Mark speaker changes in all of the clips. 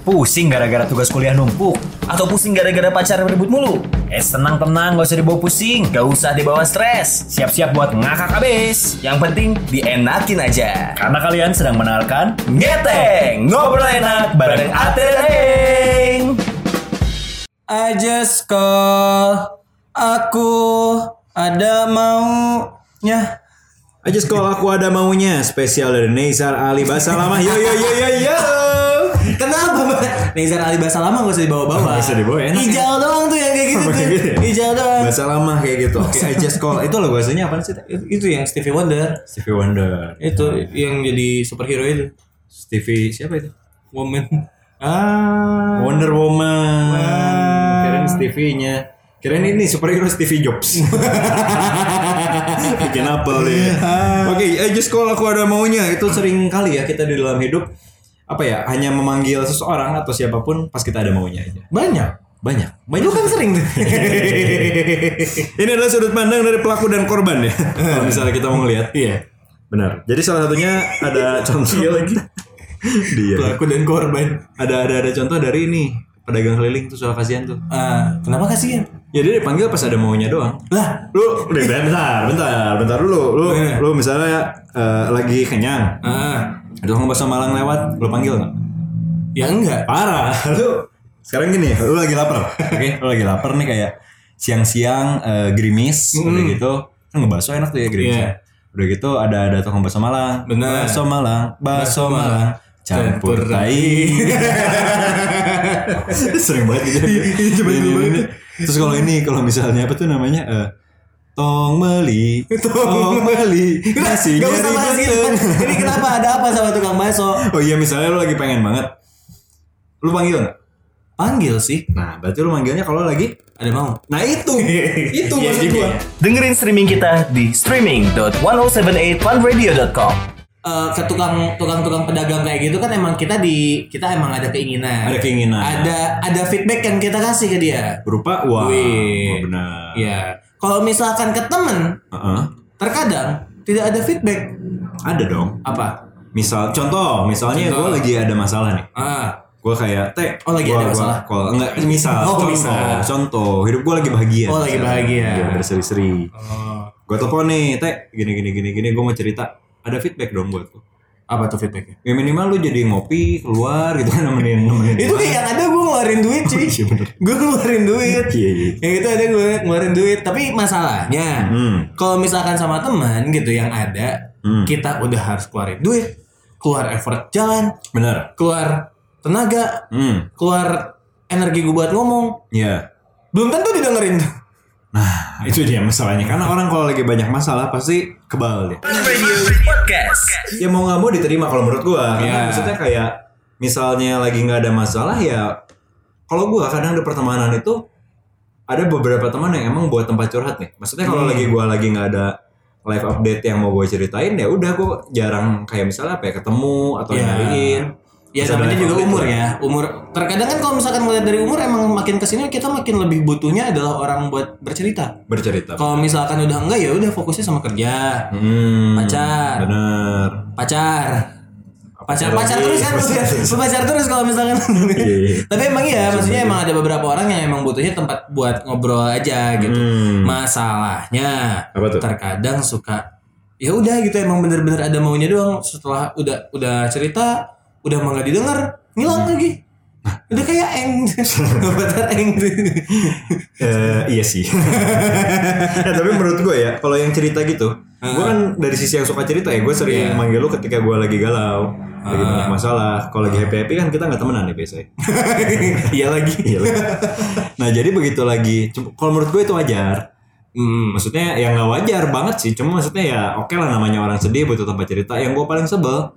Speaker 1: Pusing gara-gara tugas kuliah numpuk Atau pusing gara-gara pacar ribut mulu Eh tenang-tenang gak usah dibawa pusing Gak usah dibawa stres Siap-siap buat ngakak abis Yang penting dienakin aja Karena kalian sedang mendengarkan Ngeteng Ngobrol enak bareng Ateng
Speaker 2: I just call Aku ada maunya
Speaker 3: Aja sekolah aku ada maunya spesial dari Nezar Ali Basalamah. Yo yo yo yo yo.
Speaker 2: Kenapa Mbak? Nezar Ali Basalama gak usah
Speaker 3: Nggak
Speaker 2: dibawa-bawa
Speaker 3: usah dibawa, enak ya.
Speaker 2: Ijal doang tuh yang kayak gitu
Speaker 3: Kayak gitu
Speaker 2: tuh
Speaker 3: ya?
Speaker 2: Ijal doang
Speaker 3: Basalamah kayak gitu. Oke, aja sekolah. Itu loh bahasanya apa sih?
Speaker 2: Itu yang Stevie Wonder
Speaker 3: Stevie Wonder.
Speaker 2: Itu yang jadi superhero itu
Speaker 3: Stevie siapa itu?
Speaker 2: Woman
Speaker 3: Ah, Wonder Woman. Keren Stevie-nya. Keren ini superhero Stevie Jobs. Bikin ya? apel dia. Oke, I just call aku ada maunya. Itu sering kali ya kita di dalam hidup apa ya hanya memanggil seseorang atau siapapun pas kita ada maunya aja.
Speaker 2: Banyak
Speaker 3: Banyak.
Speaker 2: Banyak kan sering tuh
Speaker 3: Ini adalah sudut pandang dari pelaku dan korban ya. Kalau misalnya kita mau ngelihat. Iya. Benar. Jadi salah satunya ada contoh Iya lagi. Dia.
Speaker 2: Pelaku dan korban
Speaker 3: Ada ada ada contoh dari ini pedagang keliling tuh soal kasihan tuh.
Speaker 2: Ah, Kenapa kasihan?
Speaker 3: Ya dia dipanggil pas ada maunya doang.
Speaker 2: Lah
Speaker 3: Lu bentar, bentar, bentar dulu. Lu lu misalnya eh, lagi kenyang.
Speaker 2: ah,
Speaker 3: Ada orang bahasa Malang lewat, lu panggil nggak?
Speaker 2: Ya enggak
Speaker 3: Parah. Lu sekarang gini, lu lagi lapar. Oke, lu lagi lapar nih kayak siang-siang eh, gerimis udah gitu. Kan ngebaso enak tuh ya
Speaker 2: Iya.
Speaker 3: gerimisnya. Udah gitu ada ada tukang bakso Malang.
Speaker 2: Benar.
Speaker 3: Bakso Malang, bakso
Speaker 2: Bakso Malang,
Speaker 3: Malang. Campur
Speaker 2: campur
Speaker 3: tai. Sering banget gitu.
Speaker 2: Iya,
Speaker 3: Ini, ini, ini. Terus kalau ini kalau misalnya apa tuh namanya eh, Tong meli, tong meli, nasinya
Speaker 2: Gak usah bahas gitu
Speaker 3: digeser.
Speaker 2: Ini kenapa ada apa sama tukang bakso
Speaker 3: Oh iya misalnya lu lagi pengen banget, lu panggil nggak?
Speaker 2: Panggil sih
Speaker 3: Nah, berarti lu manggilnya kalau lagi
Speaker 2: Ada mau
Speaker 3: Nah itu, itu
Speaker 2: Iya
Speaker 3: maksud
Speaker 2: juga
Speaker 3: gua.
Speaker 2: ya.
Speaker 1: Dengerin streaming kita di streaming.1078oneradiocom
Speaker 2: Eh, ke tukang tukang tukang pedagang kayak gitu kan emang kita di kita emang ada keinginan
Speaker 3: Ada keinginan.
Speaker 2: ada ada feedback yang kita kasih ke dia
Speaker 3: Berupa uang.
Speaker 2: Wih.
Speaker 3: Oh, benar.
Speaker 2: Iya. kalau misalkan ke temen
Speaker 3: Heeh.
Speaker 2: terkadang tidak ada feedback
Speaker 3: Ada dong.
Speaker 2: apa
Speaker 3: Misal, contoh, misalnya
Speaker 2: Contoh.
Speaker 3: gua lagi ada masalah nih.
Speaker 2: ah
Speaker 3: Gua kayak teh.
Speaker 2: Oh, lagi
Speaker 3: gua-
Speaker 2: ada
Speaker 3: gua
Speaker 2: masalah.
Speaker 3: call. Enggak, misal.
Speaker 2: Oh,
Speaker 3: contoh,
Speaker 2: misal.
Speaker 3: Contoh, hidup gua lagi bahagia.
Speaker 2: Oh, lagi bahagia. Oh.
Speaker 3: Iya, berseri-seri. Gua telepon nih, teh. Gini, gini, gini, gini. Gua mau cerita. Ada feedback dong buat gua.
Speaker 2: apa tuh feedbacknya
Speaker 3: Ya minimal lu jadi ngopi keluar gitu kan nemenin nemenin.
Speaker 2: itu kayak yang ada gue ngeluarin duit cuy
Speaker 3: Iya, bener.
Speaker 2: gue ngeluarin duit
Speaker 3: Iya, iya.
Speaker 2: yang itu ada gue ngeluarin duit tapi masalahnya
Speaker 3: Hmm.
Speaker 2: kalau misalkan sama teman gitu yang ada
Speaker 3: Hmm.
Speaker 2: kita udah harus keluarin duit keluar effort jalan
Speaker 3: Bener.
Speaker 2: keluar tenaga
Speaker 3: Hmm.
Speaker 2: keluar energi gue buat ngomong
Speaker 3: Iya.
Speaker 2: belum tentu didengerin
Speaker 3: Nah, itu dia masalahnya. Karena orang kalau lagi banyak masalah pasti kebal deh.
Speaker 1: Radio Podcast
Speaker 3: Ya mau nggak mau diterima kalau menurut gua. Karena
Speaker 2: Iya.
Speaker 3: maksudnya kayak misalnya lagi nggak ada masalah ya. Kalau gua kadang di pertemanan itu ada beberapa teman yang emang buat tempat curhat nih. Maksudnya kalau lagi gua lagi nggak ada live update yang mau gue ceritain ya udah gua jarang kayak misalnya apa ya ketemu atau
Speaker 2: Iya.
Speaker 3: nyariin.
Speaker 2: ya
Speaker 3: Bisa
Speaker 2: namanya
Speaker 3: dalam
Speaker 2: juga
Speaker 3: waktu
Speaker 2: umur
Speaker 3: itu.
Speaker 2: ya umur terkadang kan kalau misalkan melihat dari umur emang makin kesini kita makin lebih butuhnya adalah orang buat bercerita
Speaker 3: Bercerita.
Speaker 2: kalau misalkan udah enggak ya udah fokusnya sama kerja
Speaker 3: Hmm,
Speaker 2: Pacar.
Speaker 3: Bener.
Speaker 2: pacar pacar
Speaker 3: Pacar
Speaker 2: pacar
Speaker 3: lagi.
Speaker 2: terus kan lu pacar terus kalau misalkan
Speaker 3: Iya, iya.
Speaker 2: tapi emang iya maksudnya emang ada beberapa orang yang emang butuhnya tempat buat ngobrol aja gitu
Speaker 3: Hmm.
Speaker 2: masalahnya
Speaker 3: Apa tuh?
Speaker 2: terkadang suka ya udah gitu emang bener-bener ada maunya doang setelah udah udah cerita udah emang nggak didengar ngilang
Speaker 3: Hmm.
Speaker 2: lagi udah kayak eng Avatar eng
Speaker 3: Eh, iya sih. Eh, tapi menurut gue ya, kalau yang cerita gitu, gue kan dari sisi yang suka cerita ya, gue sering
Speaker 2: Iya. Ah.
Speaker 3: manggil lu ketika gue lagi galau, lagi banyak masalah. Kalau lagi happy happy kan kita nggak temenan ya biasanya.
Speaker 2: iya lagi
Speaker 3: Iya lah. nah jadi begitu lagi, cum- kalau menurut gue itu wajar.
Speaker 2: hmm.
Speaker 3: Maksudnya ya nggak wajar banget sih, cuma maksudnya ya oke lah namanya orang sedih butuh tempat cerita. Yang gue paling sebel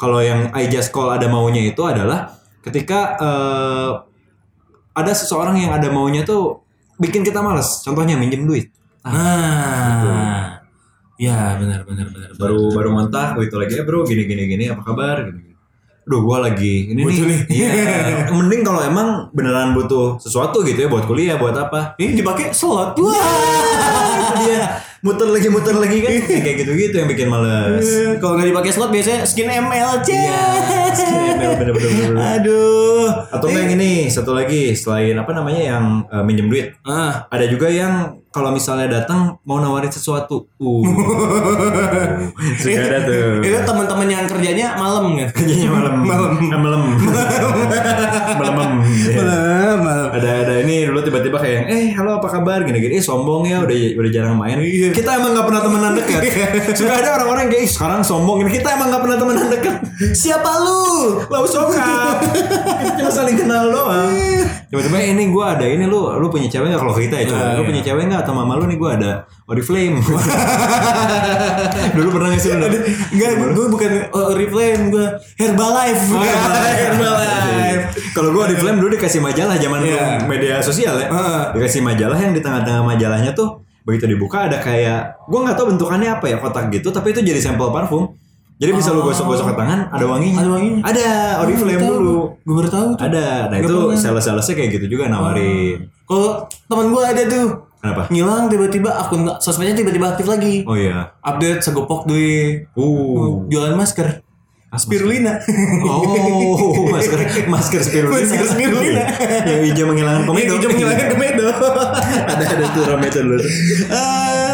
Speaker 3: kalau yang I just call ada maunya itu adalah ketika eh, ada seseorang yang ada maunya tuh bikin kita males. Contohnya minjem duit.
Speaker 2: ah ya benar benar benar
Speaker 3: baru baru mentah gitu lagi eh bro gini gini gini apa kabar gini, gini. Duh gua lagi ini
Speaker 2: Butuh
Speaker 3: nih.
Speaker 2: nih.
Speaker 3: Iya. Mending kalau emang beneran butuh sesuatu gitu ya buat kuliah buat apa.
Speaker 2: ini dipakai slot wah
Speaker 3: Itu dia. muter lagi muter lagi kan kayak gitu-gitu yang bikin males. Iya.
Speaker 2: Eh, Kalau nggak dipakai slot biasanya skin ML aja.
Speaker 3: Bener, bener, bener, bener.
Speaker 2: Aduh.
Speaker 3: Atau enggak yang ini satu lagi selain apa namanya yang eh, minjem duit.
Speaker 2: Ah,
Speaker 3: Ada juga yang kalau misalnya datang mau nawarin sesuatu. Uh. Suka ada tuh.
Speaker 2: itu teman-teman yang kerjanya malam kan?
Speaker 3: Kayaknya malam ya? Eh, malam malam malam Ah,
Speaker 2: Malam, malam.
Speaker 3: ada ada ini dulu tiba-tiba kayak eh halo apa kabar gini-gini eh sombong ya udah udah jarang main
Speaker 2: Iya.
Speaker 3: kita emang nggak pernah temenan dekat suka ada orang-orang yang kayak "Ih, sekarang sombong gini kita emang nggak pernah temenan dekat
Speaker 2: Siapa lu?
Speaker 3: lau sokap kita cuma saling kenal doang tiba-tiba "Eh, ini gue ada ini lu lu punya cewek nggak kalau kita ya
Speaker 2: Nah,
Speaker 3: coba
Speaker 2: iya.
Speaker 3: lu punya cewek nggak atau mama lu nih gue ada oriflame dulu pernah nggak sih lu
Speaker 2: Enggak, gue bukan oh, Oriflame, gue Herbalife.
Speaker 3: Oh,
Speaker 2: Herbalife.
Speaker 3: Kalau gua di film dulu dikasih majalah zaman
Speaker 2: Iya.
Speaker 3: belum media sosial ya.
Speaker 2: Heeh.
Speaker 3: Dikasih majalah yang di tengah-tengah majalahnya tuh begitu dibuka ada kayak gua nggak tahu bentukannya apa ya kotak gitu tapi itu jadi sampel parfum. Jadi bisa lu gosok-gosok ke tangan ada wanginya.
Speaker 2: Oh. Ada wanginya.
Speaker 3: Ada Oriflame dulu.
Speaker 2: Gue baru tahu tuh.
Speaker 3: Ada. Nah
Speaker 2: Nggak
Speaker 3: itu
Speaker 2: pernah.
Speaker 3: sales-salesnya kayak gitu juga nawarin.
Speaker 2: Kalau teman gue ada tuh
Speaker 3: Kenapa?
Speaker 2: ngilang tiba-tiba akun sosmednya tiba-tiba aktif lagi.
Speaker 3: Oh iya.
Speaker 2: Update segopok duit.
Speaker 3: Uh.
Speaker 2: Jualan masker. Oh. Spirulina.
Speaker 3: Oh, masker masker spirulina.
Speaker 2: Masker spirulina.
Speaker 3: yang Iya, hijau menghilangkan komedo.
Speaker 2: Yang Iya, hijau menghilangkan komedo.
Speaker 3: ada ada tuh rame tuh dulu. Eh,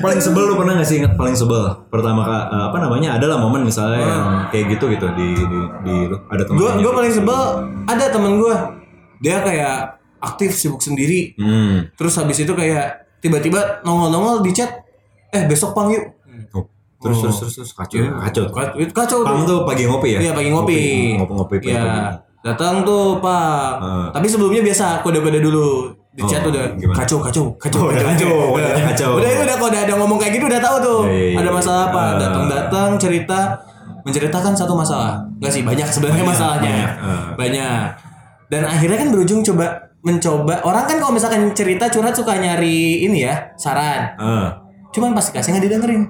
Speaker 3: paling sebel lu pernah gak sih ingat paling sebel pertama ka- eh, apa namanya adalah momen misalnya yang kayak gitu gitu di di, di lu ada gitu. teman
Speaker 2: Gue gue Hmm. paling sebel ada teman gue dia kayak aktif sibuk sendiri.
Speaker 3: hmm.
Speaker 2: Terus habis itu kayak tiba-tiba nongol-nongol di chat. Eh besok pang yuk.
Speaker 3: Oh, terus, terus terus terus kacau kacau
Speaker 2: Iya. Kacau. Kacau.
Speaker 3: Pang tuh pagi ngopi ya
Speaker 2: Iya pagi ngopi.
Speaker 3: ngopi ngopi pagi
Speaker 2: Iya.
Speaker 3: ngopi.
Speaker 2: Datang tuh Pak.
Speaker 3: Heeh.
Speaker 2: Tapi sebelumnya biasa kode-kode dulu di chat
Speaker 3: Oh,
Speaker 2: udah
Speaker 3: gimana?
Speaker 2: kacau kacau kacau
Speaker 3: Oh, udah kacau,
Speaker 2: udah
Speaker 3: udah kacau.
Speaker 2: udah itu udah kalau udah ada ngomong kayak gitu udah tahu tuh
Speaker 3: Iya, iya,
Speaker 2: ada
Speaker 3: iya.
Speaker 2: masalah apa
Speaker 3: Heeh.
Speaker 2: datang datang cerita menceritakan satu masalah Gak sih banyak sebenarnya masalahnya
Speaker 3: banyak, ah.
Speaker 2: banyak.
Speaker 3: heeh.
Speaker 2: dan akhirnya kan berujung coba mencoba orang kan kalau misalkan cerita curhat suka nyari ini ya saran
Speaker 3: Ah,
Speaker 2: cuman pasti kasih nggak didengerin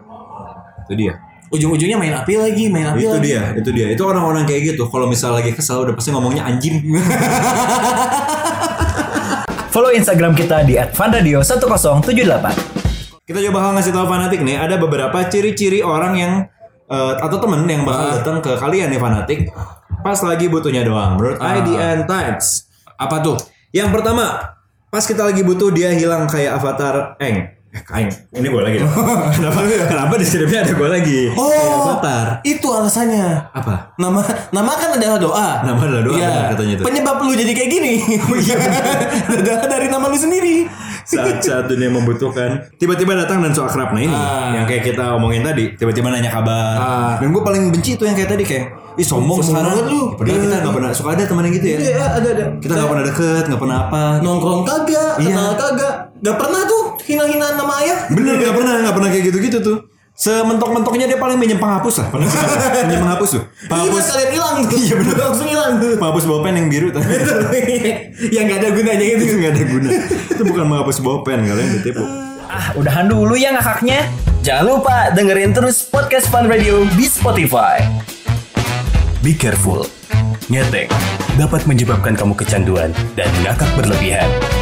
Speaker 3: itu dia
Speaker 2: ujung-ujungnya main api lagi main api
Speaker 3: itu
Speaker 2: lagi
Speaker 3: dia itu dia itu orang-orang kayak gitu kalau misal lagi kesal udah pasti ngomongnya anjing
Speaker 1: Follow Instagram kita di @fanradio1078.
Speaker 3: Kita coba ngasih tahu fanatik nih, ada beberapa ciri-ciri orang yang eh, atau temen yang
Speaker 2: Ah.
Speaker 3: bakal datang ke kalian nih fanatik pas lagi butuhnya doang. Menurut IDN Times.
Speaker 2: Ah. apa tuh
Speaker 3: Yang pertama, pas kita lagi butuh dia hilang kayak avatar Eng. Eh, Eng. Ini gue lagi. kenapa? Kenapa di scriptnya ada gue lagi?
Speaker 2: Oh.
Speaker 3: Kayak avatar.
Speaker 2: itu alasannya
Speaker 3: Apa?
Speaker 2: Nama nama kan adalah doa.
Speaker 3: Nama adalah doa,
Speaker 2: Iya.
Speaker 3: benar katanya itu. Oh, iya.
Speaker 2: Penyebab lu jadi kayak gini. Adalah dari nama lu sendiri.
Speaker 3: saat saat dunia membutuhkan tiba-tiba datang dan so akrab nah ini
Speaker 2: Ah.
Speaker 3: yang kayak kita omongin tadi tiba-tiba nanya kabar
Speaker 2: Ah.
Speaker 3: dan gue paling benci tuh yang kayak tadi kayak ih sombong
Speaker 2: Sombong
Speaker 3: sekarang
Speaker 2: banget lu.
Speaker 3: padahal kita
Speaker 2: Iya.
Speaker 3: nggak pernah suka ada teman yang gitu ya
Speaker 2: ada ada.
Speaker 3: kita nggak pernah deket nggak pernah apa
Speaker 2: nongkrong kagak,
Speaker 3: Iya.
Speaker 2: kenal kagak. Gak pernah tuh hina-hinaan nama ayah.
Speaker 3: bener nggak pernah nggak pernah kayak gitu-gitu tuh sementok-mentoknya dia paling minjem penghapus lah pernah minjem penghapus tuh
Speaker 2: Iya
Speaker 3: penghapus
Speaker 2: sekalian hilang tuh. Iya benar. Langsung hilang tuh.
Speaker 3: penghapus bolpen yang biru tadi
Speaker 2: yang gak ada gunanya gitu. itu.
Speaker 3: itu nggak ada guna itu bukan menghapus bolpen kalian ditipu
Speaker 1: Ah, udahan dulu ya ngakaknya. Jangan lupa dengerin terus podcast Fun Radio di Spotify. Be careful. Nyetek dapat menyebabkan kamu kecanduan dan ngakak berlebihan.